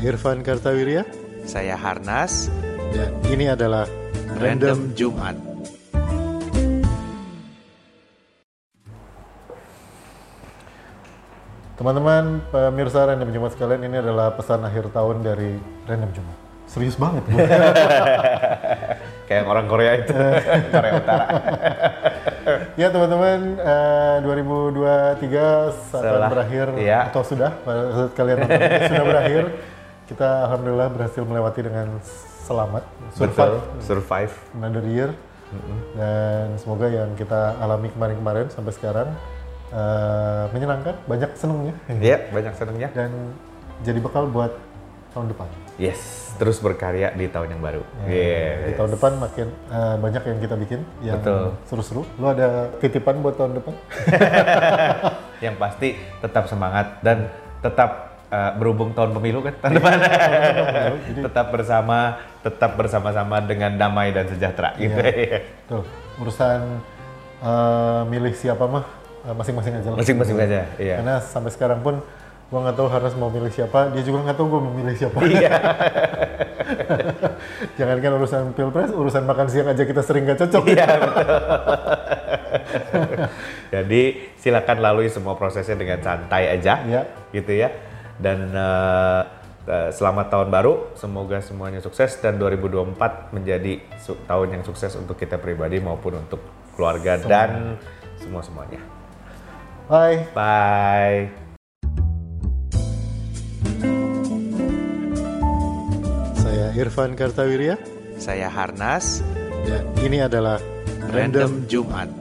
Irfan Kartawirya Saya Harnas, dan ini adalah Random Jumat. Teman-teman pemirsa Random Jumat sekalian, ini adalah pesan akhir tahun dari Random Jumat. Serius banget. Bu. Kayak orang Korea itu, Korea Utara. ya teman-teman, eh, 2023 saat Setelah, berakhir iya. atau sudah pada saat kalian nonton ini sudah berakhir. Kita alhamdulillah berhasil melewati dengan selamat, Betul, survive survive. another year. Dan semoga yang kita alami kemarin-kemarin sampai sekarang eh, menyenangkan, banyak senengnya. Ya, banyak senangnya. Dan jadi bekal buat tahun depan. Yes, Ya, terus berkarya di tahun yang baru. Di Yeah. tahun depan makin eh, banyak yang kita bikin yang Betul. seru-seru. Lo ada titipan buat tahun depan? Yang pasti tetap semangat dan tetap eh, berhubung tahun pemilu kan tahun depan. tetap bersama, tetap bersama-sama dengan damai dan sejahtera gitu. Tuh, urusan eh, milih siapa mah eh, masing-masing aja lah. Masing-masing aja. Iya. Karena sampai sekarang pun gua nggak tahu harus mau milih siapa, dia juga nggak tahu gua mau milih siapa. Iya. Jangankan urusan pilpres, urusan makan siang aja kita sering nggak cocok. Iya, betul. Jadi silakan lalui semua prosesnya dengan santai aja, Iya. gitu ya. Dan eh, eh, selamat tahun baru, semoga semuanya sukses dan 2024 menjadi su- tahun yang sukses untuk kita pribadi maupun untuk keluarga dan semua semuanya. Bye. Bye. Saya Irfan Kartawirya Saya Harnas, dan Ya, ini adalah Random Jumat.